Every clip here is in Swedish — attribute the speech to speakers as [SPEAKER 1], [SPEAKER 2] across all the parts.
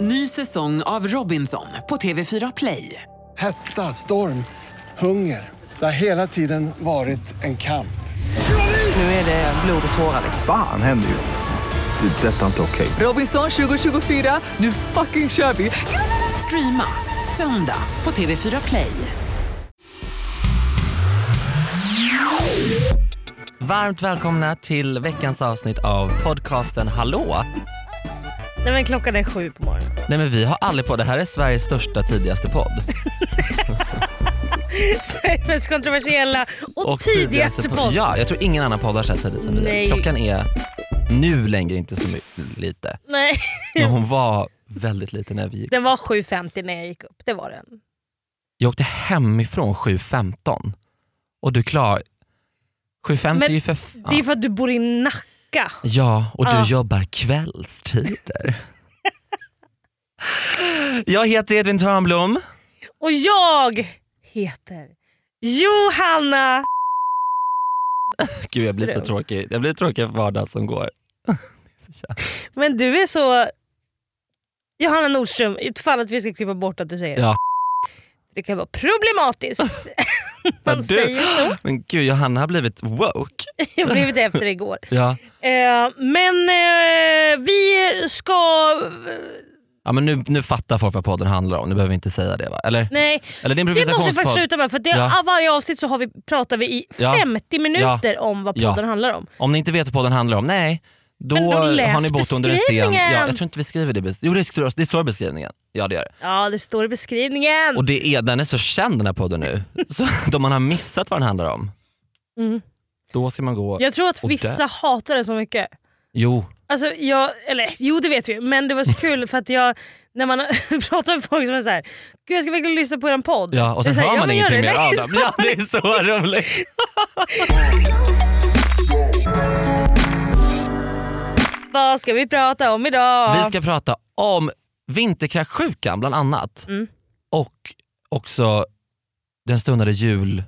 [SPEAKER 1] Ny säsong av Robinson på TV4 Play.
[SPEAKER 2] Hetta, storm, hunger. Det har hela tiden varit en kamp.
[SPEAKER 1] Nu är det blod och tårar. liksom.
[SPEAKER 3] Fan händer just nu. Det. är Detta är inte okej.
[SPEAKER 1] Robinson 2024, nu fucking kör vi! Streama söndag på TV4 Play.
[SPEAKER 4] Varmt välkomna till veckans avsnitt av podcasten Hallå!
[SPEAKER 5] Nej men klockan är sju på morgonen.
[SPEAKER 4] Nej men vi har aldrig på det här är Sveriges största tidigaste podd.
[SPEAKER 5] Sveriges mest kontroversiella och,
[SPEAKER 4] Och
[SPEAKER 5] tidigaste podd.
[SPEAKER 4] Ja, jag tror ingen annan podd har sett tidigt som vi.
[SPEAKER 5] Nej.
[SPEAKER 4] gör. Klockan är nu längre inte så my- lite.
[SPEAKER 5] Nej,
[SPEAKER 4] Men hon var väldigt liten när vi gick.
[SPEAKER 5] den var 7.50 när jag gick upp. Det var den.
[SPEAKER 4] Jag åkte hemifrån 7.15 och du klar... 7.50 är ju för fan...
[SPEAKER 5] Det är för att du bor i Nacka.
[SPEAKER 4] Ja, och du
[SPEAKER 5] Ja.
[SPEAKER 4] jobbar kvällstider. jag heter Edvin Törnblom.
[SPEAKER 5] Och jag heter Johanna.
[SPEAKER 4] Gud jag blir så tråkig. Jag blir tråkig för vardag som går. Det är så jävla-
[SPEAKER 5] Men du är så... Johanna Nordström, ifall att vi ska klippa bort att du säger
[SPEAKER 4] Ja.
[SPEAKER 5] det kan vara problematiskt. Man
[SPEAKER 4] du-
[SPEAKER 5] säger så.
[SPEAKER 4] Men gud Johanna har blivit woke.
[SPEAKER 5] Jag har blivit efter igår.
[SPEAKER 4] Ja.
[SPEAKER 5] Eh, men eh, vi ska...
[SPEAKER 4] Ja, men nu, nu fattar folk vad podden handlar om, nu behöver vi inte säga det va? Eller,
[SPEAKER 5] Nej,
[SPEAKER 4] eller det är en
[SPEAKER 5] Det måste vi
[SPEAKER 4] improvisationspodd.
[SPEAKER 5] faktiskt sluta med för det,
[SPEAKER 4] Ja.
[SPEAKER 5] av varje avsnitt så har vi, pratar vi i
[SPEAKER 4] Ja.
[SPEAKER 5] 50 minuter om vad
[SPEAKER 4] Ja.
[SPEAKER 5] podden handlar om.
[SPEAKER 4] Om ni inte vet vad podden handlar om, nej. Då,
[SPEAKER 5] Men då
[SPEAKER 4] har
[SPEAKER 5] läs
[SPEAKER 4] ni bott under en sten.
[SPEAKER 5] beskrivningen.
[SPEAKER 4] Ja, jag tror inte vi skriver det. bes- Jo det, står- det står i beskrivningen. Ja det gör det.
[SPEAKER 5] Ja det står i beskrivningen.
[SPEAKER 4] Och det är, den är så känd den här podden nu. Så om man har missat vad den handlar om,
[SPEAKER 5] Mm.
[SPEAKER 4] då ska man gå...
[SPEAKER 5] Jag tror att
[SPEAKER 4] och
[SPEAKER 5] vissa hatar det så mycket.
[SPEAKER 4] Jo,
[SPEAKER 5] Alltså jag, eller jo det vet vi men det var så kul för att jag, när man pratar med folk som är såhär, gud jag ska verkligen lyssna på er podd.
[SPEAKER 4] ja, och sen
[SPEAKER 5] Jag säger,
[SPEAKER 4] hör man
[SPEAKER 5] men gör
[SPEAKER 4] ingenting mer
[SPEAKER 5] det. Nej,
[SPEAKER 4] av
[SPEAKER 5] så-
[SPEAKER 4] dem. Ja, det är så roligt.
[SPEAKER 5] Vad ska vi prata om idag?
[SPEAKER 4] Vi ska prata om vinterkräksjukan bland annat.
[SPEAKER 5] Mm.
[SPEAKER 4] Och också den stundade jul,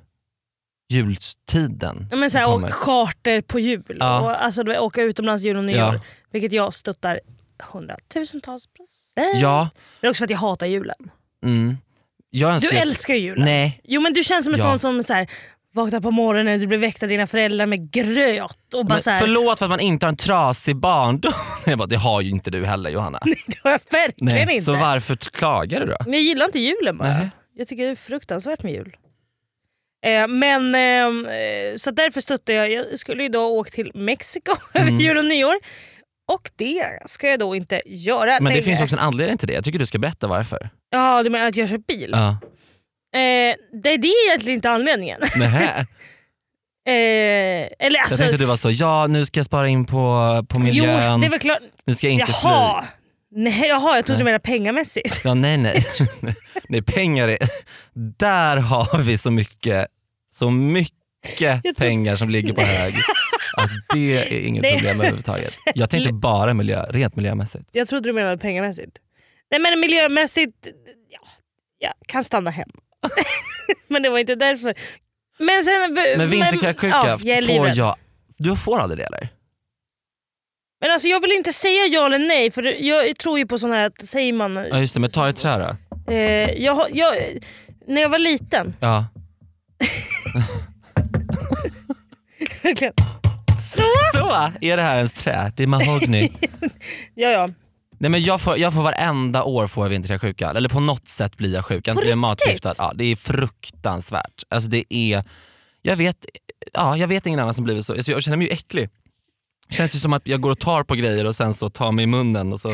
[SPEAKER 4] jultiden.
[SPEAKER 5] Ja, men så här,
[SPEAKER 4] som
[SPEAKER 5] och
[SPEAKER 4] kommer.
[SPEAKER 5] charter på jul.
[SPEAKER 4] Ja.
[SPEAKER 5] Och, alltså, du vet, åka utomlands jul och nyår.
[SPEAKER 4] Ja.
[SPEAKER 5] Vilket jag stöttar hundratusentals procent.
[SPEAKER 4] ja,
[SPEAKER 5] Men också för att jag hatar julen.
[SPEAKER 4] mm. jag önskar
[SPEAKER 5] Du älskar ju julen.
[SPEAKER 4] Nej,
[SPEAKER 5] Jo men du känns som en
[SPEAKER 4] Ja.
[SPEAKER 5] sån som så här, vaknar på morgonen, du blir väckt av dina föräldrar med gröt och bara
[SPEAKER 4] men
[SPEAKER 5] så här,
[SPEAKER 4] förlåt för att man inte har en trasig barndom. Jag bara, det har ju inte du heller Johanna.
[SPEAKER 5] det har jag verkligen
[SPEAKER 4] Nej,
[SPEAKER 5] inte.
[SPEAKER 4] så varför t- klagar du då?
[SPEAKER 5] Men jag gillar inte julen bara.
[SPEAKER 4] Nej.
[SPEAKER 5] Jag tycker det är fruktansvärt med jul. Eh, men ehm, eh, Så därför stöttar jag. Jag skulle ju då åka till Mexiko över
[SPEAKER 4] Mm.
[SPEAKER 5] jul och nyår. Och det ska jag då inte göra
[SPEAKER 4] Men det
[SPEAKER 5] längre.
[SPEAKER 4] finns också en anledning till det. Jag tycker du ska berätta varför.
[SPEAKER 5] Ja, du menar att jag kör bil?
[SPEAKER 4] Ja.
[SPEAKER 5] Eh, det, det är egentligen inte anledningen.
[SPEAKER 4] Nähä.
[SPEAKER 5] Eh, eller
[SPEAKER 4] Jag
[SPEAKER 5] alltså,
[SPEAKER 4] tänkte du var så, ja nu ska jag spara in på, på
[SPEAKER 5] jo,
[SPEAKER 4] miljön,
[SPEAKER 5] det är väl klart.
[SPEAKER 4] nu ska jag inte fly.
[SPEAKER 5] Jaha. Nej, jaha, jag trodde du menade pengamässigt.
[SPEAKER 4] Ja, nej, nej. nej pengar är... Där har vi så mycket, så mycket pengar som ligger på hög. Ja, det är inget
[SPEAKER 5] Nej.
[SPEAKER 4] problem överhuvudtaget. Jag tänkte bara miljö, rent miljömässigt.
[SPEAKER 5] Jag trodde du menade pengamässigt. Nej men miljömässigt, ja, jag kan stanna hem. men det var inte därför. Men sen...
[SPEAKER 4] Men vinterkräksjuka
[SPEAKER 5] ja, jag är
[SPEAKER 4] får
[SPEAKER 5] livrädd.
[SPEAKER 4] jag... Du får aldrig det eller?
[SPEAKER 5] Men alltså jag vill inte säga ja eller nej för jag tror ju på sån här att säger man...
[SPEAKER 4] Ja just det, men ta i trä då.
[SPEAKER 5] Eh, jag, har- jag, när jag var liten,
[SPEAKER 4] Ja.
[SPEAKER 5] verkligen. Så!
[SPEAKER 4] Så är det här ens trä, det är mahogny.
[SPEAKER 5] Ja ja.
[SPEAKER 4] Nej men jag får, jag får varenda år får jag vinterkräksjuka, eller på något sätt blir jag sjuk. Antingen matförgiftad. Ja, det är fruktansvärt. Alltså det är, jag vet, ja, jag vet ingen annan som blivit så. Alltså jag känner mig ju äcklig. Känns ju som att jag går och tar på grejer och sen så tar mig i munnen. Och så.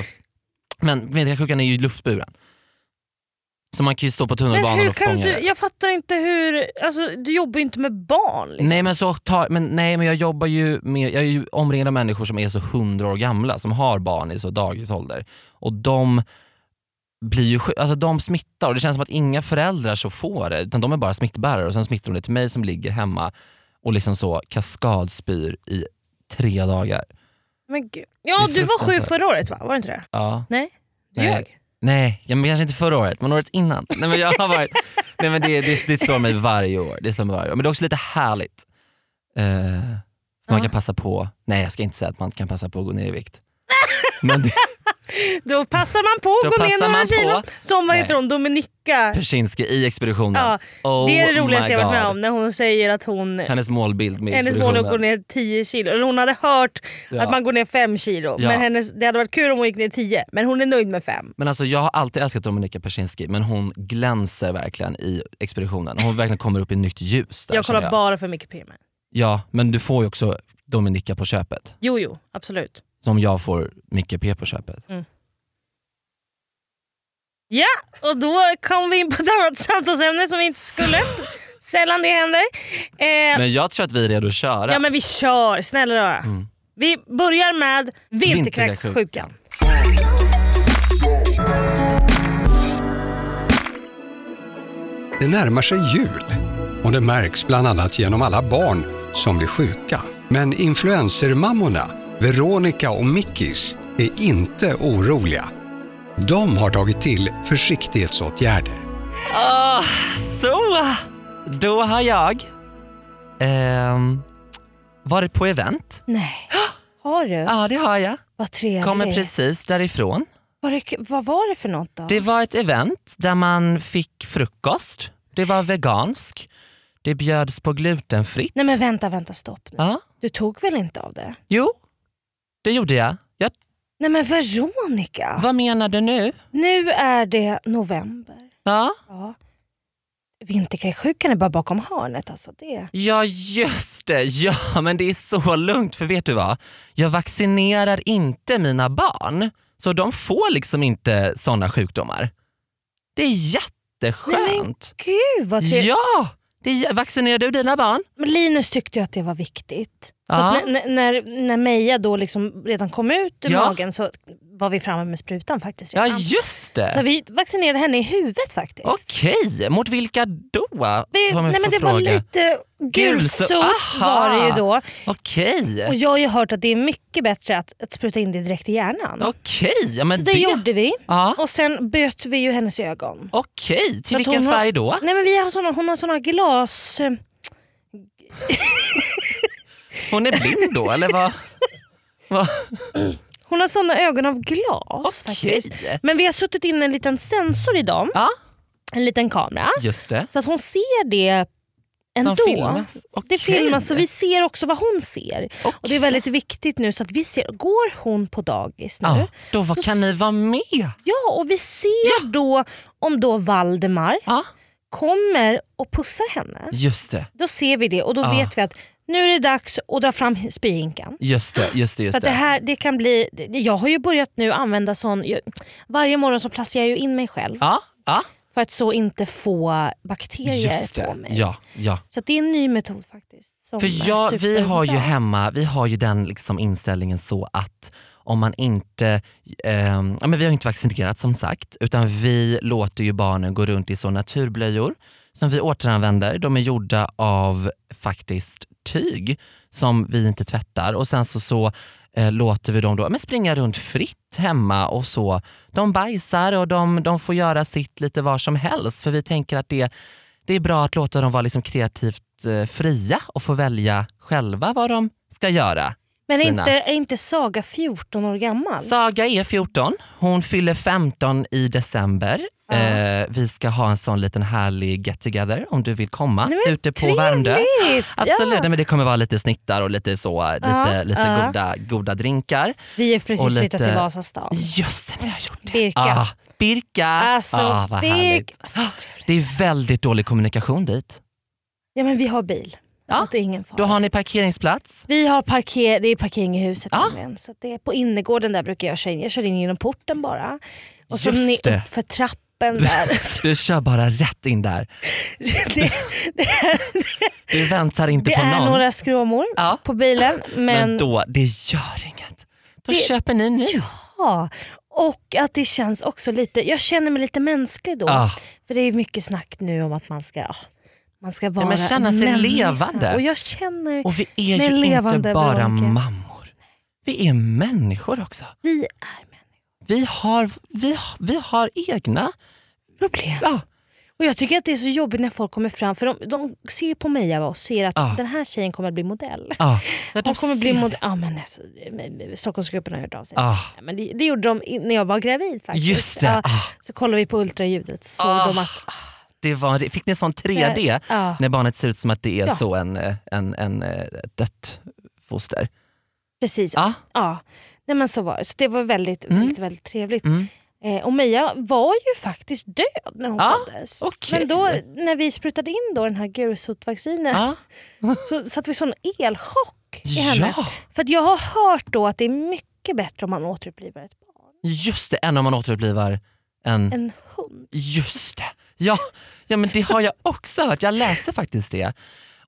[SPEAKER 4] Men vinterkräksjukan är ju luftburen. Så man kan ju stå på
[SPEAKER 5] Men
[SPEAKER 4] tunnelbanan
[SPEAKER 5] hur
[SPEAKER 4] och fånga
[SPEAKER 5] kan du,
[SPEAKER 4] det.
[SPEAKER 5] jag fattar inte hur, alltså, du jobbar ju inte med barn. Liksom.
[SPEAKER 4] Nej men, så tar, men, nej men jag jobbar ju med, jag är ju omringad av människor som är så hundra år gamla, som har barn i så dagisålder. Och de blir ju sjuk- alltså de smittar och det känns som att inga föräldrar så får det, utan de är bara smittbärare och sen smittar de det till mig som ligger hemma och liksom så kaskadspyr i tre dagar.
[SPEAKER 5] Men gud. Ja
[SPEAKER 4] Det är
[SPEAKER 5] du var sju
[SPEAKER 4] fruktansvärt.
[SPEAKER 5] förra året va? Var det inte det?
[SPEAKER 4] Ja.
[SPEAKER 5] Nej? Du
[SPEAKER 4] Nej.
[SPEAKER 5] ljög?
[SPEAKER 4] Nej, ja, men kanske inte förra året, men året innan. Nej, men jag har varit, nej, men det, det, det slår mig varje år. Det slår mig varje år. Men det är också lite härligt. Eh, man
[SPEAKER 5] Ja.
[SPEAKER 4] kan passa på, nej jag ska inte säga att man kan passa på att gå ner i vikt. Men det,
[SPEAKER 5] Då passar man på
[SPEAKER 4] Då
[SPEAKER 5] att gå ner
[SPEAKER 4] passar
[SPEAKER 5] några
[SPEAKER 4] man
[SPEAKER 5] kilo.
[SPEAKER 4] på.
[SPEAKER 5] Som vad
[SPEAKER 4] Nej.
[SPEAKER 5] heter hon, Dominika.
[SPEAKER 4] Persinski i expeditionen.
[SPEAKER 5] Ja,
[SPEAKER 4] oh
[SPEAKER 5] det är det roligaste
[SPEAKER 4] my
[SPEAKER 5] jag varit med
[SPEAKER 4] God.
[SPEAKER 5] om när hon säger att hon
[SPEAKER 4] Hennes målbild med
[SPEAKER 5] hennes mål är att gå
[SPEAKER 4] expeditionen.
[SPEAKER 5] ner 10 kilo. Eller hon hade hört
[SPEAKER 4] Ja.
[SPEAKER 5] att man går ner 5 kilo.
[SPEAKER 4] Ja.
[SPEAKER 5] Men hennes, det hade varit kul om hon gick ner 10 men hon är nöjd med 5.
[SPEAKER 4] Men alltså jag har alltid älskat Dominika Persinski men hon glänser verkligen i expeditionen. Hon verkligen kommer upp i nytt ljus där.
[SPEAKER 5] Jag kollar
[SPEAKER 4] känner jag.
[SPEAKER 5] bara för mycket PM.
[SPEAKER 4] Ja, men du får ju också Dominika på köpet.
[SPEAKER 5] Jo, jo, absolut.
[SPEAKER 4] Som jag får Micke P på köpet.
[SPEAKER 5] Ja, och då kom vi in på ett annat samtalsämne som vi inte skulle. Sällan det händer. Eh,
[SPEAKER 4] Men jag tror att vi är redo att köra.
[SPEAKER 5] Ja men vi kör, snälla rara.
[SPEAKER 4] Mm.
[SPEAKER 5] Vi börjar med vinterkräksjukan.
[SPEAKER 6] Det närmar sig jul och det märks bland annat genom alla barn som blir sjuka. Men influencermammorna, Veronica och Mickis, är inte oroliga. De har tagit till försiktighetsåtgärder.
[SPEAKER 4] Ah, så, då har jag ehm, varit på event.
[SPEAKER 5] Nej. Har du?
[SPEAKER 4] Ja det har jag.
[SPEAKER 5] Vad trevligt.
[SPEAKER 4] Kommer precis därifrån.
[SPEAKER 5] Var det, vad var det för något då?
[SPEAKER 4] Det var ett event där man fick frukost. Det var vegansk. Det bjöds på glutenfritt.
[SPEAKER 5] Nej men vänta, vänta, stopp nu.
[SPEAKER 4] Ja.
[SPEAKER 5] Du tog väl inte av det?
[SPEAKER 4] Jo, det gjorde jag. jag.
[SPEAKER 5] Nej men Veronica,
[SPEAKER 4] Vad menar du nu?
[SPEAKER 5] nu är det november.
[SPEAKER 4] Ja,
[SPEAKER 5] Ja. Vinterkräksjukan är bara bakom hörnet alltså. Det.
[SPEAKER 4] ja just det. Ja, men det är så lugnt för vet du vad? Jag vaccinerar inte mina barn så de får liksom inte såna sjukdomar. Det är
[SPEAKER 5] Nej, men
[SPEAKER 4] jätteskönt.
[SPEAKER 5] gud vad trevligt.
[SPEAKER 4] Ja! Det är, jä- vaccinerar du dina barn?
[SPEAKER 5] Men Linus tyckte ju att det var viktigt. Så
[SPEAKER 4] Ja.
[SPEAKER 5] att när, när, när Meja då liksom redan kom ut ur
[SPEAKER 4] Ja.
[SPEAKER 5] magen så var vi framme med sprutan faktiskt.
[SPEAKER 4] Ja
[SPEAKER 5] redan.
[SPEAKER 4] just
[SPEAKER 5] Så
[SPEAKER 4] det.
[SPEAKER 5] vi vaccinerade henne i huvudet faktiskt.
[SPEAKER 4] Okej, mot vilka då?
[SPEAKER 5] Vi,
[SPEAKER 4] Om jag
[SPEAKER 5] nej, men
[SPEAKER 4] får
[SPEAKER 5] det var
[SPEAKER 4] fråga.
[SPEAKER 5] lite
[SPEAKER 4] Gulsot,
[SPEAKER 5] gulsot var
[SPEAKER 4] aha.
[SPEAKER 5] det ju då. Och
[SPEAKER 4] Okej,
[SPEAKER 5] jag har ju hört att det är mycket bättre att, att spruta in det direkt i hjärnan.
[SPEAKER 4] okej. Ja, men
[SPEAKER 5] så det, gjorde vi.
[SPEAKER 4] Ja.
[SPEAKER 5] Och sen böt vi ju hennes ögon.
[SPEAKER 4] Okej,
[SPEAKER 5] Så
[SPEAKER 4] till
[SPEAKER 5] att
[SPEAKER 4] vilken
[SPEAKER 5] hon har-
[SPEAKER 4] färg då?
[SPEAKER 5] Nej, men vi har såna, hon har såna glas... eh,
[SPEAKER 4] Hon är blind då eller vad? vad?
[SPEAKER 5] Hon har såna ögon av glas
[SPEAKER 4] Okej.
[SPEAKER 5] faktiskt. Men vi har suttit in en liten sensor i dem.
[SPEAKER 4] Ja,
[SPEAKER 5] en liten kamera.
[SPEAKER 4] just det.
[SPEAKER 5] Så att hon ser det ändå.
[SPEAKER 4] filmas?
[SPEAKER 5] Det
[SPEAKER 4] Okej.
[SPEAKER 5] filmas så vi ser också vad hon ser. Och Det är väldigt viktigt nu så att vi ser, går hon på dagis nu?
[SPEAKER 4] Ja, då
[SPEAKER 5] Så
[SPEAKER 4] vad kan
[SPEAKER 5] s-
[SPEAKER 4] ni vara med?
[SPEAKER 5] Ja, och vi ser då om då Valdemar
[SPEAKER 4] Ja,
[SPEAKER 5] kommer och pussar henne.
[SPEAKER 4] just det.
[SPEAKER 5] Då ser vi det och då
[SPEAKER 4] Ja.
[SPEAKER 5] vet vi att nu är det dags att dra fram spyhinkan.
[SPEAKER 4] Just det, just det,
[SPEAKER 5] För
[SPEAKER 4] just
[SPEAKER 5] att det
[SPEAKER 4] det.
[SPEAKER 5] här, det kan bli, det- jag har ju börjat nu använda sån, jag, varje morgon så placerar jag ju in mig själv
[SPEAKER 4] Ja, ja,
[SPEAKER 5] för att så inte få bakterier
[SPEAKER 4] just
[SPEAKER 5] på
[SPEAKER 4] det.
[SPEAKER 5] mig.
[SPEAKER 4] Ja, ja.
[SPEAKER 5] Så att det är en ny metod faktiskt. Som är
[SPEAKER 4] För jag, vi
[SPEAKER 5] superbra.
[SPEAKER 4] har ju hemma, vi har ju den liksom inställningen så att om man inte, ehm, ja men vi har ju inte vaccinerat som sagt, utan vi låter ju barnen gå runt i så naturblöjor som vi återanvänder. De är gjorda av faktiskt tyg som vi inte tvättar och sen så, så eh, låter vi dem då, men springa runt fritt hemma och så. De bajsar och de, de får göra sitt lite var som helst för vi tänker att det, det är bra att låta dem vara liksom kreativt eh, fria och få välja själva vad de ska göra.
[SPEAKER 5] Men är
[SPEAKER 4] Stina.
[SPEAKER 5] inte, är inte Saga 14 år gammal?
[SPEAKER 4] Saga är 14, hon fyller 15 i december. Eh, vi ska ha en sån liten härlig get together om du vill komma
[SPEAKER 5] Nej, men
[SPEAKER 4] ute på
[SPEAKER 5] trevligt!
[SPEAKER 4] Värmdö. Absolut,
[SPEAKER 5] Ja.
[SPEAKER 4] nej, men det kommer vara lite snittar och lite, så, eh, lite,
[SPEAKER 5] Ja,
[SPEAKER 4] lite
[SPEAKER 5] ja.
[SPEAKER 4] goda, goda drinkar.
[SPEAKER 5] Vi har precis
[SPEAKER 4] Och lite-
[SPEAKER 5] flyttat till Vasastan.
[SPEAKER 4] Just det, nu har jag gjort det.
[SPEAKER 5] Birka.
[SPEAKER 4] Ah, Birka!
[SPEAKER 5] Alltså,
[SPEAKER 4] ah, vad
[SPEAKER 5] Birk-
[SPEAKER 4] härligt.
[SPEAKER 5] Alltså, trevligt.
[SPEAKER 4] det är väldigt dålig kommunikation dit.
[SPEAKER 5] Ja men vi har bil. Så
[SPEAKER 4] Ja,
[SPEAKER 5] att det är ingen fara.
[SPEAKER 4] Då har ni parkeringsplats.
[SPEAKER 5] Vi har parker, det är parkering i huset
[SPEAKER 4] Ja.
[SPEAKER 5] nämligen. Så att det är på innergården där brukar jag köra in. Jag kör in genom porten bara. Och så
[SPEAKER 4] Just
[SPEAKER 5] ner
[SPEAKER 4] det.
[SPEAKER 5] upp för trappen där. Så
[SPEAKER 4] Du kör bara rätt in där.
[SPEAKER 5] det
[SPEAKER 4] Du väntar inte
[SPEAKER 5] det
[SPEAKER 4] på
[SPEAKER 5] är
[SPEAKER 4] någon.
[SPEAKER 5] några skråmor
[SPEAKER 4] Ja.
[SPEAKER 5] på bilen.
[SPEAKER 4] Men
[SPEAKER 5] Men,
[SPEAKER 4] då, det gör inget. Då
[SPEAKER 5] Det-
[SPEAKER 4] köper ni nu.
[SPEAKER 5] ja. Och att det känns också lite, jag känner mig lite mänsklig då.
[SPEAKER 4] Ah,
[SPEAKER 5] För det är mycket snack nu om att man ska, ja, man ska vara
[SPEAKER 4] men känna sig
[SPEAKER 5] människa.
[SPEAKER 4] levande.
[SPEAKER 5] Och jag känner,
[SPEAKER 4] och vi är
[SPEAKER 5] Men
[SPEAKER 4] ju inte
[SPEAKER 5] levande,
[SPEAKER 4] bara
[SPEAKER 5] Veronica.
[SPEAKER 4] mammor. Vi är människor också.
[SPEAKER 5] vi är människor.
[SPEAKER 4] Vi har, vi, har- vi har egna...
[SPEAKER 5] Problem.
[SPEAKER 4] Ja,
[SPEAKER 5] Och jag tycker att det är så jobbigt när folk kommer fram, för de, de ser på mig Eva, och ser att
[SPEAKER 4] Ja.
[SPEAKER 5] den här tjejen kommer att bli modell.
[SPEAKER 4] Ah.
[SPEAKER 5] Hon kommer bli modell. Ja, men alltså, eh, Stockholmsgruppen har hört av sig.
[SPEAKER 4] Ah.
[SPEAKER 5] Ja, men det, det gjorde de i- när jag var gravid faktiskt.
[SPEAKER 4] Just det,
[SPEAKER 5] Ja,
[SPEAKER 4] ah.
[SPEAKER 5] Så kollade vi på ultraljudet så såg
[SPEAKER 4] Ah.
[SPEAKER 5] de att ah,
[SPEAKER 4] Det var, fick ni en sån 3D
[SPEAKER 5] Ja.
[SPEAKER 4] när barnet ser ut som att det är
[SPEAKER 5] Ja.
[SPEAKER 4] så en, eh, en, en eh, ett dött foster?
[SPEAKER 5] precis,
[SPEAKER 4] Ja.
[SPEAKER 5] Ja, Nej, men så var det. Så det var väldigt, väldigt, väldigt trevligt.
[SPEAKER 4] Mm.
[SPEAKER 5] Eh, och Meja var ju faktiskt död när hon
[SPEAKER 4] Ja,
[SPEAKER 5] föddes.
[SPEAKER 4] okej.
[SPEAKER 5] Men då när vi sprutade in då den här gulsot-vaccinen
[SPEAKER 4] Ja.
[SPEAKER 5] så satte vi sån elchock i henne.
[SPEAKER 4] ja,
[SPEAKER 5] För att jag har hört då att det är mycket bättre om man återupplivar ett barn.
[SPEAKER 4] just det. Än om man återupplivar en...
[SPEAKER 5] En hund.
[SPEAKER 4] Just det. Ja, ja, men det har jag också hört. Jag läste faktiskt det.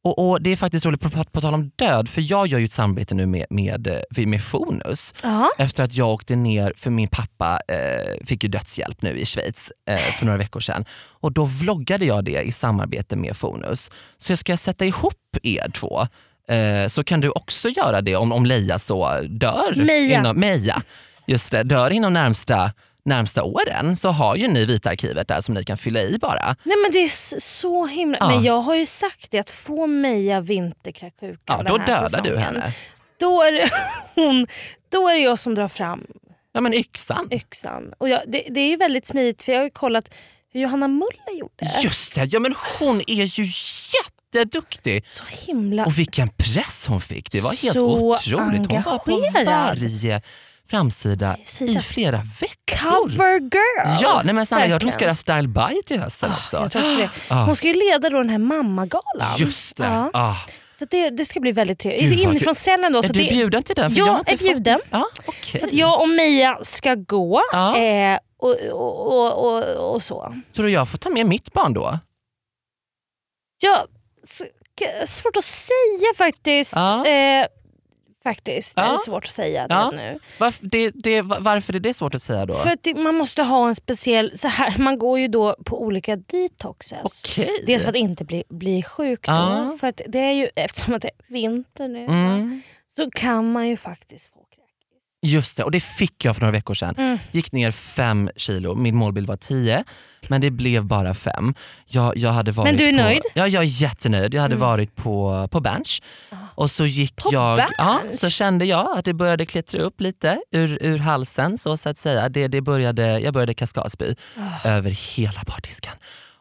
[SPEAKER 4] Och, och Det är faktiskt roligt, på, på, på tal om död, för jag gör ju ett samarbete nu med, med, eh, med Fonus.
[SPEAKER 5] Ja.
[SPEAKER 4] Efter att jag åkte ner, för min pappa eh, fick ju dödshjälp nu i Schweiz eh, för några veckor sedan. Och då vloggade jag det i samarbete med Fonus. Så jag ska sätta ihop er två. Eh, så kan du också göra det om, om Leia så dör.
[SPEAKER 5] Meja.
[SPEAKER 4] Inom, Meja. Just det, dör inom närmsta, närmsta åren så har ju ni Vita arkivet där som ni kan fylla i bara.
[SPEAKER 5] Nej men det är s- så himla...
[SPEAKER 4] Ja.
[SPEAKER 5] Men jag har ju sagt det att få Meja vinterkräksjukan
[SPEAKER 4] Ja,
[SPEAKER 5] den
[SPEAKER 4] då
[SPEAKER 5] här
[SPEAKER 4] dödar
[SPEAKER 5] säsongen,
[SPEAKER 4] du henne.
[SPEAKER 5] Då är, det, hon, då är det jag som drar fram
[SPEAKER 4] Ja men yxan.
[SPEAKER 5] yxan. Och jag, det, det är ju väldigt smidigt för jag har ju kollat hur Johanna Muller gjorde.
[SPEAKER 4] Just det, ja men hon är ju jätteduktig.
[SPEAKER 5] Så himla...
[SPEAKER 4] Och vilken press hon fick. Det var helt
[SPEAKER 5] Så
[SPEAKER 4] otroligt. Hon var på
[SPEAKER 5] engagerad.
[SPEAKER 4] varje framsida
[SPEAKER 5] Sida.
[SPEAKER 4] i flera veckor.
[SPEAKER 5] Cover girl!
[SPEAKER 4] Ja, nej men snälla jag tror hon
[SPEAKER 5] Verkligen.
[SPEAKER 4] ska göra Style by till hösten också.
[SPEAKER 5] Jag tror också det.
[SPEAKER 4] Ah.
[SPEAKER 5] Hon ska ju leda då den här mammagalan.
[SPEAKER 4] Just det.
[SPEAKER 5] Ja.
[SPEAKER 4] Ah.
[SPEAKER 5] Så det, det ska bli väldigt
[SPEAKER 4] Gud,
[SPEAKER 5] trevligt.
[SPEAKER 4] vad
[SPEAKER 5] Inifrån cellen då.
[SPEAKER 4] Är
[SPEAKER 5] Så
[SPEAKER 4] du
[SPEAKER 5] det,
[SPEAKER 4] bjuden till den? För
[SPEAKER 5] Jag
[SPEAKER 4] har inte
[SPEAKER 5] är bjuden.
[SPEAKER 4] Fått... Ja, okej.
[SPEAKER 5] Så att jag och Mia ska gå
[SPEAKER 4] Ja.
[SPEAKER 5] eh, och, och, och, och, och så.
[SPEAKER 4] Tror du jag får ta med mitt barn då?
[SPEAKER 5] Jag s- k- svårt att säga faktiskt.
[SPEAKER 4] Ja.
[SPEAKER 5] Eh, faktiskt. Det är
[SPEAKER 4] Ja.
[SPEAKER 5] svårt att säga det
[SPEAKER 4] Ja.
[SPEAKER 5] nu.
[SPEAKER 4] Varf- det, det, va- varför är det svårt att säga då?
[SPEAKER 5] För att det, man måste ha en speciell, så här, man går ju då på olika detoxes.
[SPEAKER 4] Okej.
[SPEAKER 5] Dels för att inte bli, bli sjuk då,
[SPEAKER 4] Ja.
[SPEAKER 5] för att det är ju, eftersom att det är vinter nu
[SPEAKER 4] Mm.
[SPEAKER 5] så kan man ju faktiskt få kräk.
[SPEAKER 4] Just det, och det fick jag för några veckor sedan.
[SPEAKER 5] Mm.
[SPEAKER 4] Gick ner fem kilo, min målbild var tio, men det blev bara fem. Jag, jag hade varit
[SPEAKER 5] Men du är
[SPEAKER 4] på,
[SPEAKER 5] nöjd? Mm.
[SPEAKER 4] Ja, jag är jättenöjd. Jag hade varit på, på bench. Och så gick
[SPEAKER 5] Ah. På
[SPEAKER 4] jag, Ja,
[SPEAKER 5] Berns?
[SPEAKER 4] så kände jag att det började klättra upp lite ur, ur halsen så, så att säga. Det, det började, jag började kaskadspy
[SPEAKER 5] Ah.
[SPEAKER 4] över hela bardisken.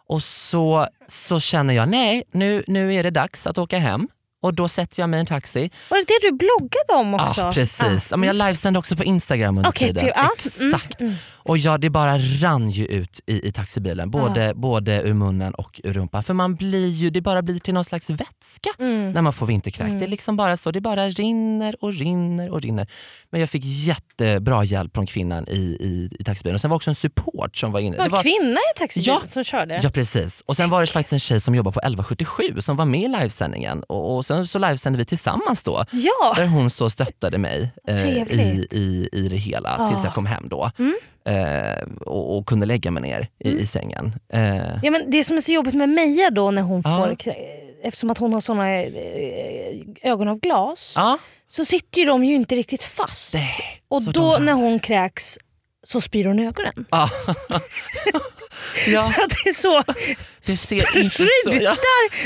[SPEAKER 4] Och så, så känner jag, nej nu, nu är det dags att åka hem. Och då sätter jag mig i en taxi
[SPEAKER 5] Var det det du bloggade om också? Ah,
[SPEAKER 4] Ja, precis. Ja, men jag livesände också på Instagram under
[SPEAKER 5] Alltså, Mm. Okej,
[SPEAKER 4] tiden.
[SPEAKER 5] du- ja. Mm,
[SPEAKER 4] Exakt. Och ja, det bara rann ju ut i, i taxibilen, både, både ur munnen och ur rumpan. För man blir ju, det bara blir till någon slags vätska
[SPEAKER 5] Mm.
[SPEAKER 4] när man får vinterkräk. Det är liksom bara så, det bara rinner och rinner och rinner. Men jag fick jättebra hjälp från kvinnan i, i, i taxibilen. Och sen var också en support som var inne.
[SPEAKER 5] Det var en kvinna i taxibilen
[SPEAKER 4] Ja.
[SPEAKER 5] som körde?
[SPEAKER 4] Ja precis. Och sen var det faktiskt en tjej som jobbar på 1177 som var med i livesändningen och, och sen så livesände vi tillsammans då.
[SPEAKER 5] Ja.
[SPEAKER 4] Där hon så stöttade mig eh, i,
[SPEAKER 5] Trevligt. Mm.
[SPEAKER 4] i, i det hela tills jag kom hem då. Eh, och, och kunde lägga mig ner i, i sängen. Eh,
[SPEAKER 5] Ja, men det som är så jobbigt med Meja då när hon
[SPEAKER 4] Ja.
[SPEAKER 5] får, krä- eftersom att hon har såna eh, ögon av glas,
[SPEAKER 4] ja,
[SPEAKER 5] så sitter ju de ju inte riktigt fast.
[SPEAKER 4] Nej,
[SPEAKER 5] och
[SPEAKER 4] så
[SPEAKER 5] då
[SPEAKER 4] de-
[SPEAKER 5] när hon kräks så spyr hon i ögonen.
[SPEAKER 4] ja. ja.
[SPEAKER 5] Så att det är så.
[SPEAKER 4] Det ser inte så... Ja.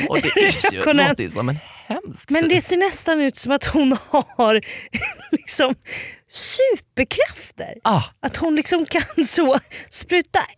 [SPEAKER 4] Och det är ju,
[SPEAKER 5] ögonen.
[SPEAKER 4] låter ju som en hemsk
[SPEAKER 5] Men det
[SPEAKER 4] syn.
[SPEAKER 5] ser nästan ut som att hon har liksom superkrafter.
[SPEAKER 4] Ah,
[SPEAKER 5] Att hon liksom kan så spruta eld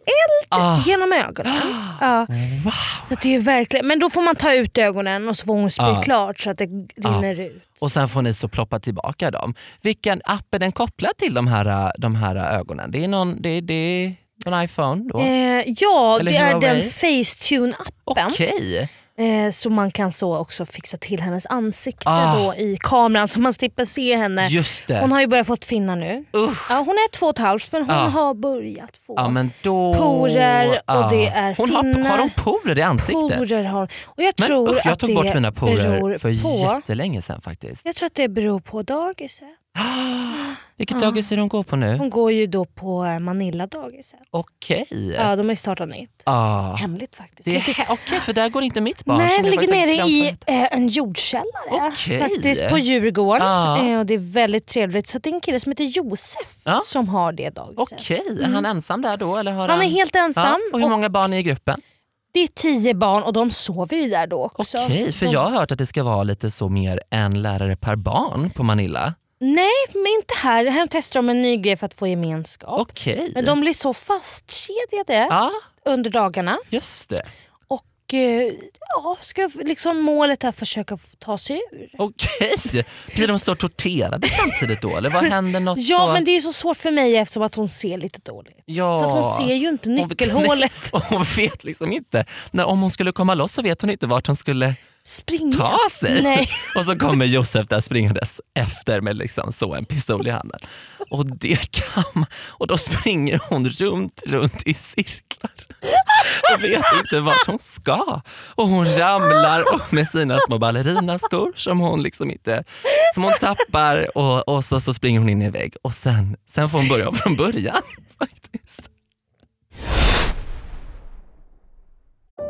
[SPEAKER 4] Ah.
[SPEAKER 5] genom ögonen. Ja.
[SPEAKER 4] wow.
[SPEAKER 5] Så att det är verkligen, men då får man ta ut ögonen och så får hon spy
[SPEAKER 4] Ah.
[SPEAKER 5] klart så att det rinner ut.
[SPEAKER 4] Och sen får ni så ploppa tillbaka dem. Vilken app är den kopplad till de här, eh, de här ögonen? Det är någon, det, det är någon iPhone då?
[SPEAKER 5] Eh, ja,
[SPEAKER 4] Eller
[SPEAKER 5] det är den
[SPEAKER 4] Huawei.
[SPEAKER 5] Facetune-appen.
[SPEAKER 4] Okej.
[SPEAKER 5] Eh, så man kan så också fixa till hennes ansikte
[SPEAKER 4] Ah.
[SPEAKER 5] då i kameran så man slipper se henne.
[SPEAKER 4] Just det.
[SPEAKER 5] Hon har ju börjat få finna nu.
[SPEAKER 4] Usch.
[SPEAKER 5] Ja, hon är två och ett halvt men hon
[SPEAKER 4] Ah.
[SPEAKER 5] har börjat få
[SPEAKER 4] Ja, men då...
[SPEAKER 5] Porer och
[SPEAKER 4] Ah.
[SPEAKER 5] det är
[SPEAKER 4] hon har,
[SPEAKER 5] finnar.
[SPEAKER 4] har hon porer i ansiktet?
[SPEAKER 5] porer. Har hon. Och jag
[SPEAKER 4] Men
[SPEAKER 5] tror
[SPEAKER 4] usch, jag
[SPEAKER 5] att
[SPEAKER 4] tog
[SPEAKER 5] det
[SPEAKER 4] bort mina
[SPEAKER 5] beror
[SPEAKER 4] porer för
[SPEAKER 5] på,
[SPEAKER 4] jättelänge sedan faktiskt.
[SPEAKER 5] Jag tror att det beror på dagiset.
[SPEAKER 4] Vilket dagis är det hon går på nu?
[SPEAKER 5] Ah. Hon går ju då på eh, Manilla-dagiset.
[SPEAKER 4] Okej.
[SPEAKER 5] Ja, de har ju startat nytt.
[SPEAKER 4] Eh. Ah.
[SPEAKER 5] Hemligt faktiskt.
[SPEAKER 4] Det är
[SPEAKER 5] Ligger-
[SPEAKER 4] he- Okej, för där går inte mitt barn.
[SPEAKER 5] Nej,
[SPEAKER 4] som
[SPEAKER 5] det
[SPEAKER 4] jag
[SPEAKER 5] ligger
[SPEAKER 4] faktiskt
[SPEAKER 5] nere
[SPEAKER 4] har glömt vad
[SPEAKER 5] i eh, en jordkällare
[SPEAKER 4] Okej.
[SPEAKER 5] faktiskt på Djurgården.
[SPEAKER 4] Ja.
[SPEAKER 5] Eh, och det är väldigt trevligt. Så det är en kille som heter Josef
[SPEAKER 4] Ja.
[SPEAKER 5] som har det dagiset.
[SPEAKER 4] Okej, är han ensam där då? Eller har
[SPEAKER 5] Mm. Han är helt ensam
[SPEAKER 4] Ja, och hur
[SPEAKER 5] och-
[SPEAKER 4] många barn är i gruppen?
[SPEAKER 5] Det är tio barn och de sover ju där då också.
[SPEAKER 4] Okej, för
[SPEAKER 5] de...
[SPEAKER 4] jag har hört att det ska vara lite så mer en lärare per barn på Manilla.
[SPEAKER 5] Nej, men inte här. Det Här testar de en ny grej för att få gemenskap.
[SPEAKER 4] Okej.
[SPEAKER 5] Men de blir så fastkedjade
[SPEAKER 4] Ja,
[SPEAKER 5] under dagarna.
[SPEAKER 4] just det.
[SPEAKER 5] Och eh, ja, ska liksom målet är att försöka få ta sig ur.
[SPEAKER 4] Okej. Blir de så torterade samtidigt då? Eller vad händer något
[SPEAKER 5] Ja
[SPEAKER 4] så...
[SPEAKER 5] men det är så svårt för mig eftersom att hon ser lite dåligt.
[SPEAKER 4] Ja.
[SPEAKER 5] Så att hon ser ju inte
[SPEAKER 4] Hon vet-
[SPEAKER 5] nyckelhålet.
[SPEAKER 4] Och hon vet liksom inte. När, om hon skulle komma loss så vet hon inte vart hon skulle
[SPEAKER 5] Springa.
[SPEAKER 4] ta sig.
[SPEAKER 5] Nej.
[SPEAKER 4] Och så kommer Josef där springandes efter med liksom så en pistol i handen. Och det kan man- Och då springer hon runt, runt i cirklar och vet inte vart hon ska. Och hon ramlar och med sina små ballerinaskor som hon liksom inte som hon tappar och, och så, så springer hon in i en vägg och sen, sen får hon börja om från början. faktiskt.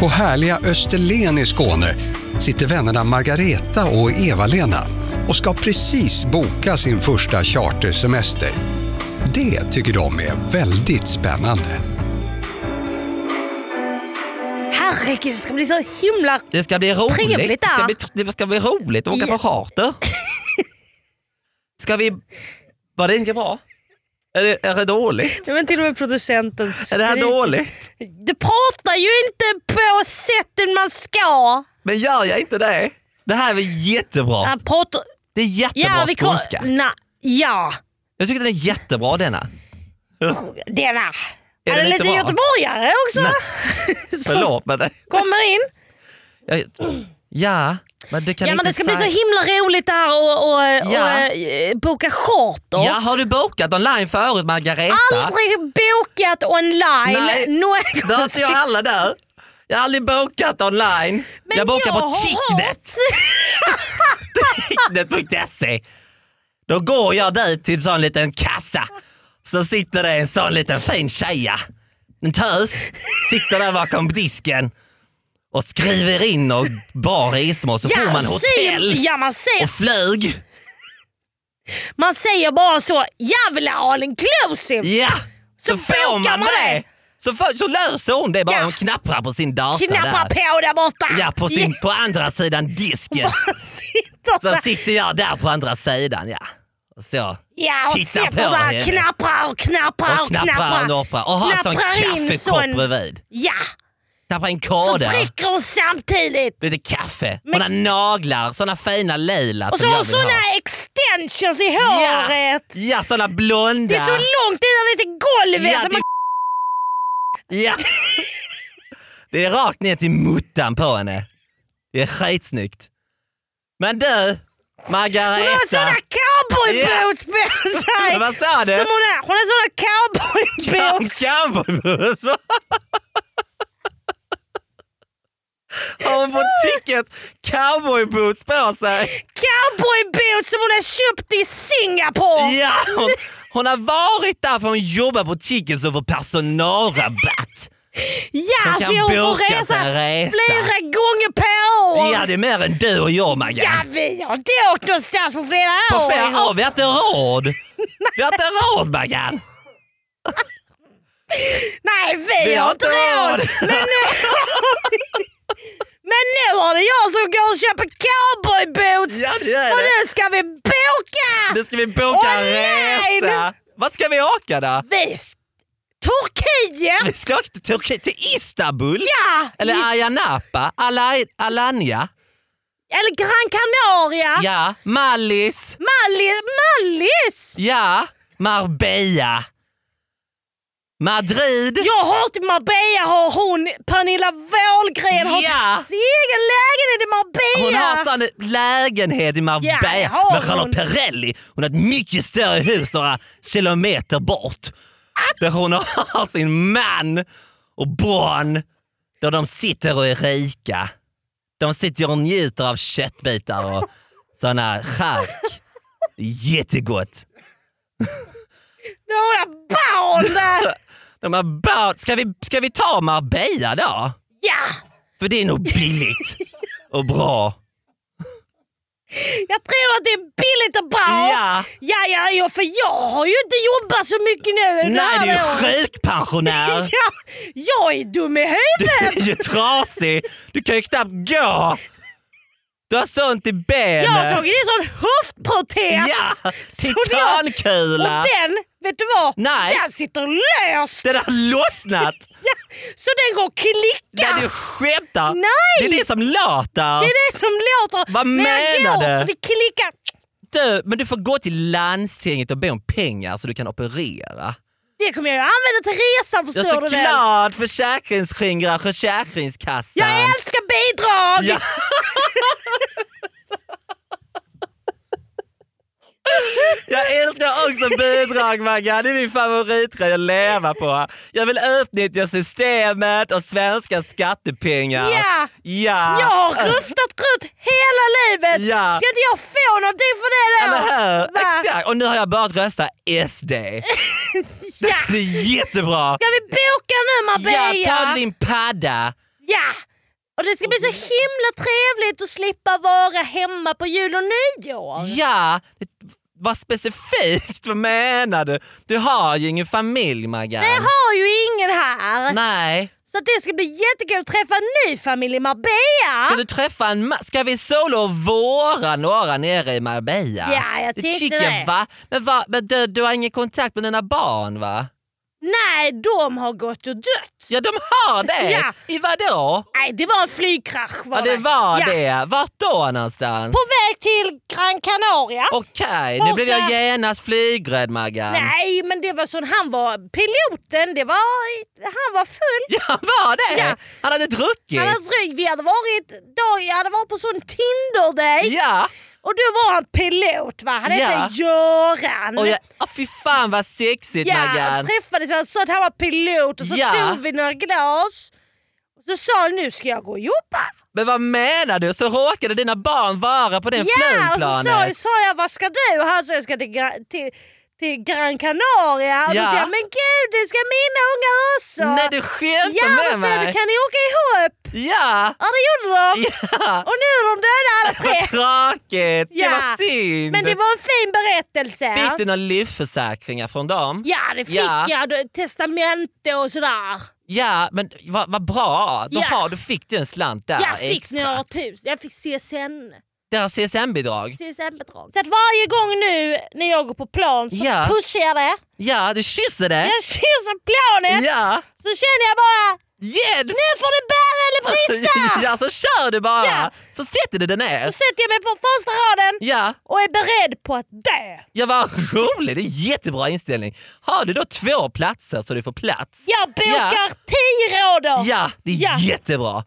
[SPEAKER 6] På härliga Österlen i Skåne sitter vännerna Margareta och Eva-Lena och ska precis boka sin första chartersemester. Det tycker de är väldigt spännande.
[SPEAKER 5] Herregud, det ska bli så himla...
[SPEAKER 4] Det ska bli roligt.
[SPEAKER 5] Trevligt,
[SPEAKER 4] det, ska
[SPEAKER 5] ja.
[SPEAKER 4] bli, det ska bli roligt att åka på charter. Ska vi... Var det inte bra? Är det, är det dåligt?
[SPEAKER 5] Nej, men till och med producenten
[SPEAKER 4] Är det här
[SPEAKER 5] skryter.
[SPEAKER 4] dåligt?
[SPEAKER 5] Du pratar ju inte på sättet man ska.
[SPEAKER 4] Men gör jag inte det? Det här är väl jättebra?
[SPEAKER 5] Han pratar...
[SPEAKER 4] Det är jättebra
[SPEAKER 5] kom-
[SPEAKER 4] skånska.
[SPEAKER 5] Na, ja,
[SPEAKER 4] Jag tycker den är jättebra denna.
[SPEAKER 5] denna.
[SPEAKER 4] Är
[SPEAKER 5] Är det
[SPEAKER 4] den inte
[SPEAKER 5] lite
[SPEAKER 4] bra?
[SPEAKER 5] göteborgare också?
[SPEAKER 4] Nej.
[SPEAKER 5] som
[SPEAKER 4] Förlåt men... det-
[SPEAKER 5] Kommer in.
[SPEAKER 4] jag- Ja, men du kan
[SPEAKER 5] Ja,
[SPEAKER 4] inte
[SPEAKER 5] men det ska bli så
[SPEAKER 4] säga-
[SPEAKER 5] himla roligt det här och, och,
[SPEAKER 4] Ja.
[SPEAKER 5] och eh, boka charter.
[SPEAKER 4] Ja, har du bokat online förut Margareta?
[SPEAKER 5] Aldrig bokat online.
[SPEAKER 4] Nej,
[SPEAKER 5] någonsin.
[SPEAKER 4] Då ser jag alla där. Jag har aldrig bokat online.
[SPEAKER 5] Men
[SPEAKER 4] jag bokar
[SPEAKER 5] jag
[SPEAKER 4] på
[SPEAKER 5] har
[SPEAKER 4] Ticknet. Ticknet.se. Då går jag dit till en sån liten kassa. Så sitter det en sån liten fin tjeja. En tös. Sitter där bakom disken. Och skriver in och bar resmål så får man hotell.
[SPEAKER 5] Säger, ja, man, säger,
[SPEAKER 4] Och flyg.
[SPEAKER 5] man säger bara så, jag vill ha all inclusive.
[SPEAKER 4] Ja,
[SPEAKER 5] Så bokar man det.
[SPEAKER 4] Så, får- så löser hon det bara.
[SPEAKER 5] Ja.
[SPEAKER 4] Hon knapprar på sin dator
[SPEAKER 5] Knappa
[SPEAKER 4] där.
[SPEAKER 5] på där borta.
[SPEAKER 4] Ja, på, sin, på andra sidan disken.
[SPEAKER 5] Ja, sitter
[SPEAKER 4] Så
[SPEAKER 5] där.
[SPEAKER 4] sitter jag där på andra sidan ja. Och så.
[SPEAKER 5] Ja, och
[SPEAKER 4] Titta
[SPEAKER 5] sitter
[SPEAKER 4] på
[SPEAKER 5] där
[SPEAKER 4] henne.
[SPEAKER 5] och knapprar och knapprar
[SPEAKER 4] Och knappar en opera och har en sån
[SPEAKER 5] Knapprar in
[SPEAKER 4] kaffekopp
[SPEAKER 5] sån-
[SPEAKER 4] bredvid.
[SPEAKER 5] Ja,
[SPEAKER 4] Knappar en
[SPEAKER 5] så
[SPEAKER 4] kåda,
[SPEAKER 5] prickar hon samtidigt.
[SPEAKER 4] lite kaffe,
[SPEAKER 5] Men-
[SPEAKER 4] hon har naglar, såna fina lila
[SPEAKER 5] Och så
[SPEAKER 4] som
[SPEAKER 5] har
[SPEAKER 4] Alltså, jag
[SPEAKER 5] hon
[SPEAKER 4] vill ha.
[SPEAKER 5] såna extensions i håret.
[SPEAKER 4] Ja, ja såna blonda.
[SPEAKER 5] Det är så långt ner till golvet.
[SPEAKER 4] ja,
[SPEAKER 5] att man-
[SPEAKER 4] det... ja. det är rakt ner till muttan på henne. Det är skitsnyggt. Men du,
[SPEAKER 5] Hon har
[SPEAKER 4] Margareta.
[SPEAKER 5] såna cowboyboots på sig.
[SPEAKER 4] Ja, vad sa du?
[SPEAKER 5] Som hon, har, hon har såna cowboyboots.
[SPEAKER 4] Cowboybuss! Har hon på ticket cowboyboots på sig?
[SPEAKER 5] Cowboyboots som hon har köpt i Singapore.
[SPEAKER 4] Ja, hon, hon har varit där för hon jobbar på ticket som får personalrabatt.
[SPEAKER 5] Ja,
[SPEAKER 4] Som
[SPEAKER 5] så
[SPEAKER 4] kan
[SPEAKER 5] hon får
[SPEAKER 4] boka
[SPEAKER 5] resa,
[SPEAKER 4] sig en resa.
[SPEAKER 5] flera gånger per år.
[SPEAKER 4] Ja, det är mer än du och jag
[SPEAKER 5] Ja,
[SPEAKER 4] Maggan.
[SPEAKER 5] vi har inte åkt någonstans på flera år.
[SPEAKER 4] På flera år, vi har inte råd. Vi har inte råd Maggan.
[SPEAKER 5] Nej, vi, har inte råd. Men nu, men nu har det jag som går och köper cowboyboots.
[SPEAKER 4] Ja, det är
[SPEAKER 5] För
[SPEAKER 4] det.
[SPEAKER 5] nu ska vi boka!
[SPEAKER 4] Nu ska vi boka en
[SPEAKER 5] Online!
[SPEAKER 4] resa. Vart ska vi åka då?
[SPEAKER 5] Vi... s- Turkiet!
[SPEAKER 4] Vi ska åka till Turkiet, till Istanbul.
[SPEAKER 5] Ja!
[SPEAKER 4] Eller Ayia Napa, Ala- Alanya.
[SPEAKER 5] Eller Gran Canaria!
[SPEAKER 4] Ja, Mallis!
[SPEAKER 5] Malli- Mallis!
[SPEAKER 4] Ja, Marbella! Madrid!
[SPEAKER 5] Jag har till Marbella har hon, Pernilla Wahlgren, har
[SPEAKER 4] Ja.
[SPEAKER 5] sin egen lägenhet i Marbella.
[SPEAKER 4] Hon har sån lägenhet i Marbella
[SPEAKER 5] Ja, har
[SPEAKER 4] med Charlotte
[SPEAKER 5] hon.
[SPEAKER 4] Perrelli. Hon har ett mycket större hus några kilometer bort. Där hon har sin man och barn. Där de sitter och är rika. De sitter och njuter av köttbitar och såna chark. Jättegott.
[SPEAKER 5] Några barn där!
[SPEAKER 4] De har barn. Ska vi, ska vi ta Marbella då?
[SPEAKER 5] Ja!
[SPEAKER 4] För det är nog billigt och bra.
[SPEAKER 5] Jag tror att det är billigt och bra.
[SPEAKER 4] Ja.
[SPEAKER 5] ja, ja, ja, för jag har ju inte jobbat så mycket nu. det
[SPEAKER 4] Nej,
[SPEAKER 5] här
[SPEAKER 4] du är
[SPEAKER 5] året.
[SPEAKER 4] sjukpensionär.
[SPEAKER 5] Ja, jag är dum i
[SPEAKER 4] Du
[SPEAKER 5] huvudet.
[SPEAKER 4] är ju trasig. Du kan ju knappt gå. Du har sånt i benet.
[SPEAKER 5] Jag har tagit en sån höftprotes.
[SPEAKER 4] Ja,
[SPEAKER 5] Så jag-
[SPEAKER 4] titankula.
[SPEAKER 5] Och den, vet du vad?
[SPEAKER 4] Nej.
[SPEAKER 5] Den sitter löst.
[SPEAKER 4] Den har lossnat.
[SPEAKER 5] Ja, så den går att klicka.
[SPEAKER 4] Nej, du skämtar.
[SPEAKER 5] Nej.
[SPEAKER 4] Det är det som låter.
[SPEAKER 5] Det är det som låter
[SPEAKER 4] Vad
[SPEAKER 5] när jag
[SPEAKER 4] menar
[SPEAKER 5] går,
[SPEAKER 4] du?
[SPEAKER 5] så det klickar.
[SPEAKER 4] Du, men du får gå till landstinget och be om pengar så du kan operera.
[SPEAKER 5] Det kommer jag ju använda till resan
[SPEAKER 4] Jag
[SPEAKER 5] förstår
[SPEAKER 4] är
[SPEAKER 5] du
[SPEAKER 4] så
[SPEAKER 5] väl?
[SPEAKER 4] glad försäkringsskingrar Försäkringskassan.
[SPEAKER 5] Jag älskar bidrag!
[SPEAKER 4] Ja. Jag älskar också bidrag Maggan, det är min favoritgrej att leva på. Jag vill utnyttja systemet och svenska skattepengar.
[SPEAKER 5] Ja.
[SPEAKER 4] Ja!
[SPEAKER 5] Jag har rustat runt hela livet!
[SPEAKER 4] Ja.
[SPEAKER 5] Ska inte jag få någonting för det då?
[SPEAKER 4] Eller hur?
[SPEAKER 5] Va?
[SPEAKER 4] Exakt! Och nu har jag börjat rösta SD.
[SPEAKER 5] Ja.
[SPEAKER 4] Det är jättebra!
[SPEAKER 5] Ska vi boka nu Marbella?
[SPEAKER 4] Ja, ta din padda.
[SPEAKER 5] Ja! Och det ska bli så himla trevligt att slippa vara hemma på jul och nyår.
[SPEAKER 4] Ja, vad specifikt. Vad menar du? Du har ju ingen familj Maggan.
[SPEAKER 5] Jag har ju ingen här.
[SPEAKER 4] Nej.
[SPEAKER 5] Så att det ska bli jättekul att träffa en ny familj i Marbella.
[SPEAKER 4] Ska du träffa en man? Ska vi solo och våra några nere i Marbella?
[SPEAKER 5] Ja, jag
[SPEAKER 4] det
[SPEAKER 5] tyckte
[SPEAKER 4] tycker
[SPEAKER 5] det.
[SPEAKER 4] jag. Va? Men, va? men du, du har ingen kontakt med dina barn va?
[SPEAKER 5] Nej, de har gått och dött.
[SPEAKER 4] Ja, de har det!
[SPEAKER 5] Ja.
[SPEAKER 4] I vadå?
[SPEAKER 5] Nej, det var en flygkrasch. Var
[SPEAKER 4] Ja, det var
[SPEAKER 5] Ja.
[SPEAKER 4] det. Vart då någonstans?
[SPEAKER 5] På väg till Gran Canaria.
[SPEAKER 4] Okej,
[SPEAKER 5] På-
[SPEAKER 4] nu blev jag genast flygrädd Maggan.
[SPEAKER 5] Nej, men det var sån, han var piloten, det var, han var full.
[SPEAKER 4] Ja, var det?
[SPEAKER 5] Ja.
[SPEAKER 4] Han hade druckit.
[SPEAKER 5] Han hade dryg, vi hade varit, dag, jag hade varit på sån Tinder-date
[SPEAKER 4] Ja,
[SPEAKER 5] och då var han pilot va, han
[SPEAKER 4] Ja.
[SPEAKER 5] hette Göran.
[SPEAKER 4] och jag, oh, fy fan vad sexigt
[SPEAKER 5] Mm. ja,
[SPEAKER 4] Maggan.
[SPEAKER 5] och träffades, han sa att han var pilot och så
[SPEAKER 4] Ja.
[SPEAKER 5] tog vi några glas. Och så sa han nu ska jag gå och jobba.
[SPEAKER 4] Men vad menar du? Så råkade dina barn vara på den
[SPEAKER 5] Ja, och så sa,
[SPEAKER 4] flygplanet?
[SPEAKER 5] sa jag vad ska du? Och han sa jag ska till, Gra- till, till Gran Canaria. Och då
[SPEAKER 4] Ja.
[SPEAKER 5] sa jag men gud det ska mina ungar också.
[SPEAKER 4] Nej du skämtar
[SPEAKER 5] Ja,
[SPEAKER 4] med
[SPEAKER 5] då sa jag
[SPEAKER 4] mig?
[SPEAKER 5] "Då kan ni åka ihop?
[SPEAKER 4] Ja!
[SPEAKER 5] Ja det gjorde de.
[SPEAKER 4] Ja!
[SPEAKER 5] Och nu är de döda alla tre.
[SPEAKER 4] Vad tråkigt!
[SPEAKER 5] Ja.
[SPEAKER 4] Eh, Det var synd!
[SPEAKER 5] Men det var en fin berättelse.
[SPEAKER 4] Fick du några livförsäkringar från dem?
[SPEAKER 5] Ja det fick
[SPEAKER 4] Ja.
[SPEAKER 5] jag. Då- Testamente och sådär.
[SPEAKER 4] Ja, men vad vad bra! Då
[SPEAKER 5] Ja.
[SPEAKER 4] har, du fick du en slant där
[SPEAKER 5] jag fick
[SPEAKER 4] extra.
[SPEAKER 5] några tusen. Jag fick CSN.
[SPEAKER 4] Deras CSN-bidrag.
[SPEAKER 5] CSN-bidrag. Så att varje gång nu när jag går på plan så
[SPEAKER 4] Ja.
[SPEAKER 5] pushar jag det.
[SPEAKER 4] Ja, du kysser det!
[SPEAKER 5] Jag kysser planet
[SPEAKER 4] Ja!
[SPEAKER 5] så känner jag bara
[SPEAKER 4] Yes!
[SPEAKER 5] nu får det bära eller brista!
[SPEAKER 4] Ja, så kör du bara!
[SPEAKER 5] Ja.
[SPEAKER 4] Så sätter du den ner.
[SPEAKER 5] Då sätter jag mig på första raden
[SPEAKER 4] Ja,
[SPEAKER 5] och är beredd på att dö.
[SPEAKER 4] ja vad roligt! Det är jättebra inställning. Har du då två platser så du får plats?
[SPEAKER 5] Jag bokar
[SPEAKER 4] Ja.
[SPEAKER 5] tio rader
[SPEAKER 4] Ja, det är
[SPEAKER 5] Ja.
[SPEAKER 4] jättebra!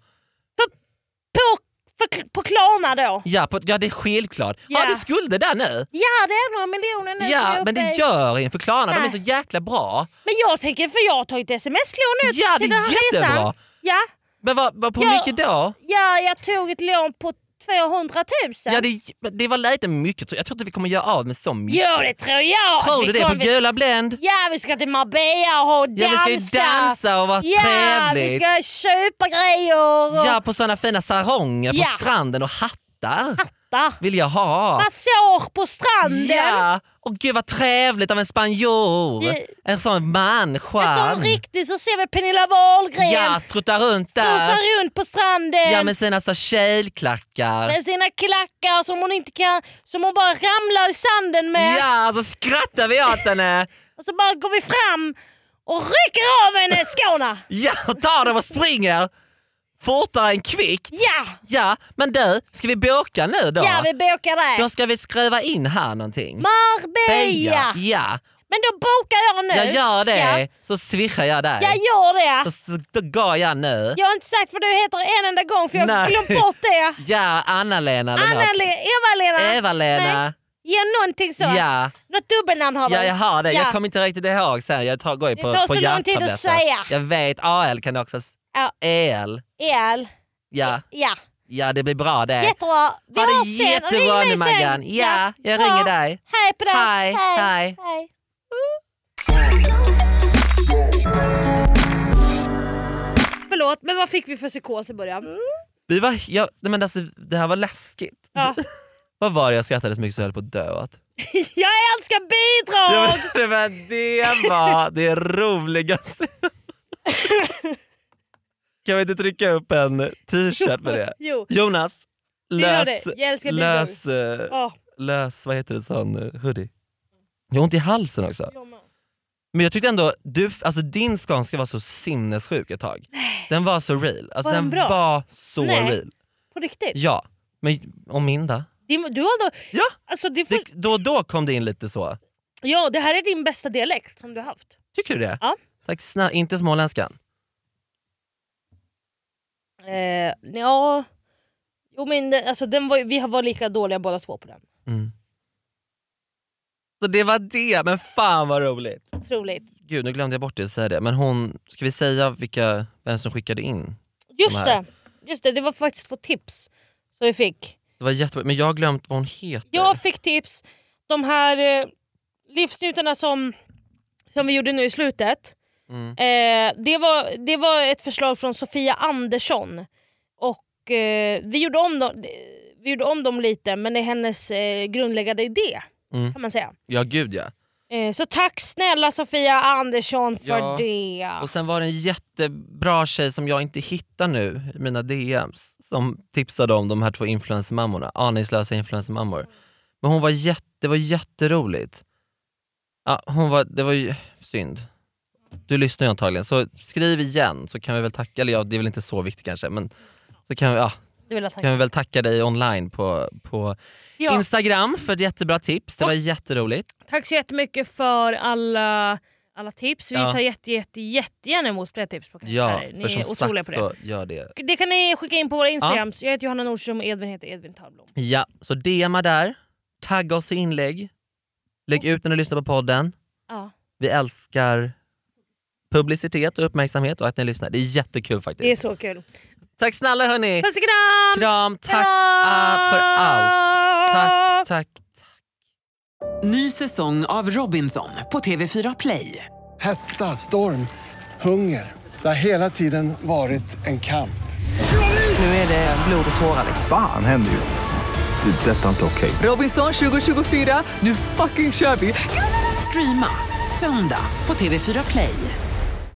[SPEAKER 5] på, för, på Klarna då.
[SPEAKER 4] Ja, på, ja, det är självklart.
[SPEAKER 5] Ja.
[SPEAKER 4] Har du skulder där nu?
[SPEAKER 5] Ja, det är några miljoner nu som jag
[SPEAKER 4] Ja,
[SPEAKER 5] är
[SPEAKER 4] men
[SPEAKER 5] uppe
[SPEAKER 4] det
[SPEAKER 5] i.
[SPEAKER 4] gör inför Klarna. De
[SPEAKER 5] Nej.
[SPEAKER 4] är så jäkla bra.
[SPEAKER 5] Men jag tänker, för jag har tagit sms-lån nu
[SPEAKER 4] Ja, det
[SPEAKER 5] till den här
[SPEAKER 4] är jättebra.
[SPEAKER 5] resan. Ja,
[SPEAKER 4] Men vad, vad, på
[SPEAKER 5] Ja.
[SPEAKER 4] mycket då?
[SPEAKER 5] ja, jag tog ett lån på 200 000.
[SPEAKER 4] Ja, det, men det var lite mycket. så Jag tror inte vi kommer göra av med så mycket.
[SPEAKER 5] Jo, det tror jag.
[SPEAKER 4] tror du
[SPEAKER 5] Vi
[SPEAKER 4] det? På
[SPEAKER 5] kommer-
[SPEAKER 4] Gula Blend?
[SPEAKER 5] Ja, vi ska till Marbella och ha och dansa.
[SPEAKER 4] Ja, vi ska ju dansa och vara
[SPEAKER 5] Ja, vi
[SPEAKER 4] trevligt.
[SPEAKER 5] ska köpa grejer. Och...
[SPEAKER 4] Ja, på såna fina saronger
[SPEAKER 5] Ja.
[SPEAKER 4] på stranden och hattar
[SPEAKER 5] Där.
[SPEAKER 4] vill jag ha.
[SPEAKER 5] Massage på stranden.
[SPEAKER 4] Ja, och gud vad trevligt av en spanjor.
[SPEAKER 5] Ja.
[SPEAKER 4] En sån man,
[SPEAKER 5] En sån
[SPEAKER 4] skön.
[SPEAKER 5] riktig så ser vi Pernilla Wahlgren
[SPEAKER 4] Ja, struttar runt där.
[SPEAKER 5] strosar runt på stranden
[SPEAKER 4] Ja, med sina så tjejklackar.
[SPEAKER 5] med sina klackar som hon inte kan, som hon bara ramlar i sanden med.
[SPEAKER 4] Ja, så skrattar vi åt henne.
[SPEAKER 5] Och så bara går vi fram och rycker av henne skorna.
[SPEAKER 4] Ja, och tar dem och springer. Fortare än kvickt?
[SPEAKER 5] Ja!
[SPEAKER 4] Ja, men du, ska vi boka nu då?
[SPEAKER 5] Ja, vi bokar det.
[SPEAKER 4] Då ska vi skriva in här någonting.
[SPEAKER 5] Marbella!
[SPEAKER 4] Ja,
[SPEAKER 5] Men då bokar jag nu.
[SPEAKER 4] jag gör det.
[SPEAKER 5] Ja,
[SPEAKER 4] Så swishar jag dig.
[SPEAKER 5] jag gör det.
[SPEAKER 4] Så, så, då går jag nu.
[SPEAKER 5] Jag har inte sagt vad du heter en enda gång för jag har
[SPEAKER 4] Nej.
[SPEAKER 5] glömt bort det.
[SPEAKER 4] Ja, Anna-Lena eller något.
[SPEAKER 5] Anna-Le- Eva-Lena. Nej.
[SPEAKER 4] Eva-Lena.
[SPEAKER 5] Ge någonting så.
[SPEAKER 4] Ja.
[SPEAKER 5] Något dubbelnamn har du.
[SPEAKER 4] Ja, jag har det.
[SPEAKER 5] Ja.
[SPEAKER 4] Jag kommer inte riktigt ihåg sen. Jag tar, går ju på
[SPEAKER 5] tar
[SPEAKER 4] på
[SPEAKER 5] så lång tid att
[SPEAKER 4] hjärttabletter.
[SPEAKER 5] säga.
[SPEAKER 4] Jag vet. AL kan du också... s-
[SPEAKER 5] Ja.
[SPEAKER 4] EL.
[SPEAKER 5] El.
[SPEAKER 4] Ja.
[SPEAKER 5] Ja.
[SPEAKER 4] ja, det blir bra det.
[SPEAKER 5] Jättebra. Vi
[SPEAKER 4] Ha det
[SPEAKER 5] hörs sen.
[SPEAKER 4] jättebra
[SPEAKER 5] Ring mig
[SPEAKER 4] nu,
[SPEAKER 5] sen.
[SPEAKER 4] Maggan. Ja, jag
[SPEAKER 5] Bra.
[SPEAKER 4] ringer dig.
[SPEAKER 5] Hej på dig.
[SPEAKER 4] Hej, hej.
[SPEAKER 5] hej. Förlåt, men vad fick vi för psykos i början?
[SPEAKER 4] Vi var, jag, nej men alltså, det här var läskigt.
[SPEAKER 5] Ja.
[SPEAKER 4] Vad var det jag skrattade så mycket så jag höll på att dö åt?
[SPEAKER 5] Jag älskar bidrag!
[SPEAKER 4] Ja, men, det, var, det var det roligaste. Kan vi inte trycka upp en t-shirt med det?
[SPEAKER 5] Jo.
[SPEAKER 4] Jonas,
[SPEAKER 5] Vi gör
[SPEAKER 4] lös,
[SPEAKER 5] det. Jag älskar bidrag.
[SPEAKER 4] lös, eh,
[SPEAKER 5] Ja.
[SPEAKER 4] lös, vad heter det, sån eh, hoodie. Jag har ont i halsen också. Men jag tyckte ändå, du, alltså din skånska var så sinnessjuk ett tag. Den var så real. Alltså,
[SPEAKER 5] Var den
[SPEAKER 4] den
[SPEAKER 5] bra?
[SPEAKER 4] var så
[SPEAKER 5] Nej.
[SPEAKER 4] real.
[SPEAKER 5] På riktigt?
[SPEAKER 4] Ja, men och min då?
[SPEAKER 5] Din, du har då,
[SPEAKER 4] Ja,
[SPEAKER 5] alltså, det, får,
[SPEAKER 4] det, då och då kom det in lite så.
[SPEAKER 5] ja, det här är din bästa dialekt som du har haft.
[SPEAKER 4] Tycker du det?
[SPEAKER 5] Ja.
[SPEAKER 4] Tack snälla, inte småländskan.
[SPEAKER 5] Eh, ja. Jo, men det, alltså, den var, ju- vi var lika dåliga båda två på den.
[SPEAKER 4] Så det var det, men fan vad roligt.
[SPEAKER 5] Otroligt.
[SPEAKER 4] Gud, nu glömde jag bort det att säga det. Men hon, ska vi säga vilka, vem som skickade in? De
[SPEAKER 5] Just
[SPEAKER 4] här.
[SPEAKER 5] det, just det, det var faktiskt två tips som vi fick.
[SPEAKER 4] Det var jättebra, men jag har glömt vad hon heter.
[SPEAKER 5] Jag fick tips, de här eh, livsnjutarna som, som vi gjorde nu i slutet.
[SPEAKER 4] Mm.
[SPEAKER 5] Eh, det, var, det var ett förslag från Sofia Andersson. Och eh, vi, gjorde om dem, vi gjorde om dem lite men det är hennes eh, grundläggande idé
[SPEAKER 4] Mm.
[SPEAKER 5] kan man säga.
[SPEAKER 4] Ja, gud ja.
[SPEAKER 5] Eh, så tack snälla Sofia Andersson för
[SPEAKER 4] Ja.
[SPEAKER 5] det.
[SPEAKER 4] Och sen var det en jättebra tjej som jag inte hittar nu i mina DMs som tipsade om de här två influencermammorna, aningslösa influencermammor. Men hon var jätte, det var jätteroligt. Ja, hon var, det var ju synd. Du lyssnar ju antagligen, så skriv igen så kan vi väl tacka, eller ja, det är väl inte så viktigt kanske, men så kan vi, ja,
[SPEAKER 5] Du vill ha tack.
[SPEAKER 4] kan vi väl tacka dig online på, på
[SPEAKER 5] Ja.
[SPEAKER 4] Instagram för ett jättebra tips. Det var jätteroligt.
[SPEAKER 5] Tack så jättemycket för alla, alla tips. Vi
[SPEAKER 4] Ja.
[SPEAKER 5] tar jätte, jätte, jättegärna emot fler tips. På
[SPEAKER 4] Ja,
[SPEAKER 5] karaktärer. Ni
[SPEAKER 4] för som
[SPEAKER 5] är otroliga
[SPEAKER 4] sagt
[SPEAKER 5] på det.
[SPEAKER 4] så gör det.
[SPEAKER 5] Det kan ni skicka in på våra Instagrams. Jag heter Johanna Nordström och Edvin heter Edvin Törnblom.
[SPEAKER 4] Ja, så DMa där. Tagga oss i inlägg. Lägg ut när du lyssnar på podden.
[SPEAKER 5] Ja.
[SPEAKER 4] Vi älskar publicitet och uppmärksamhet och att ni lyssnar. Det är jättekul faktiskt.
[SPEAKER 5] Det är så kul.
[SPEAKER 4] Tack snälla hörni!
[SPEAKER 5] Puss och kram!
[SPEAKER 4] Kram, tack
[SPEAKER 5] Kram!
[SPEAKER 4] ah, för allt! Tack, tack,
[SPEAKER 1] Ny säsong av Robinson på TV4 Play.
[SPEAKER 2] Hetta, storm, hunger. Det har hela tiden varit en kamp.
[SPEAKER 7] Nu är det blod och tårar.
[SPEAKER 3] Fan händer just nu. Det. är Detta är inte okej.
[SPEAKER 1] Robinson 2024, nu fucking kör vi! Streama söndag på TV4 Play.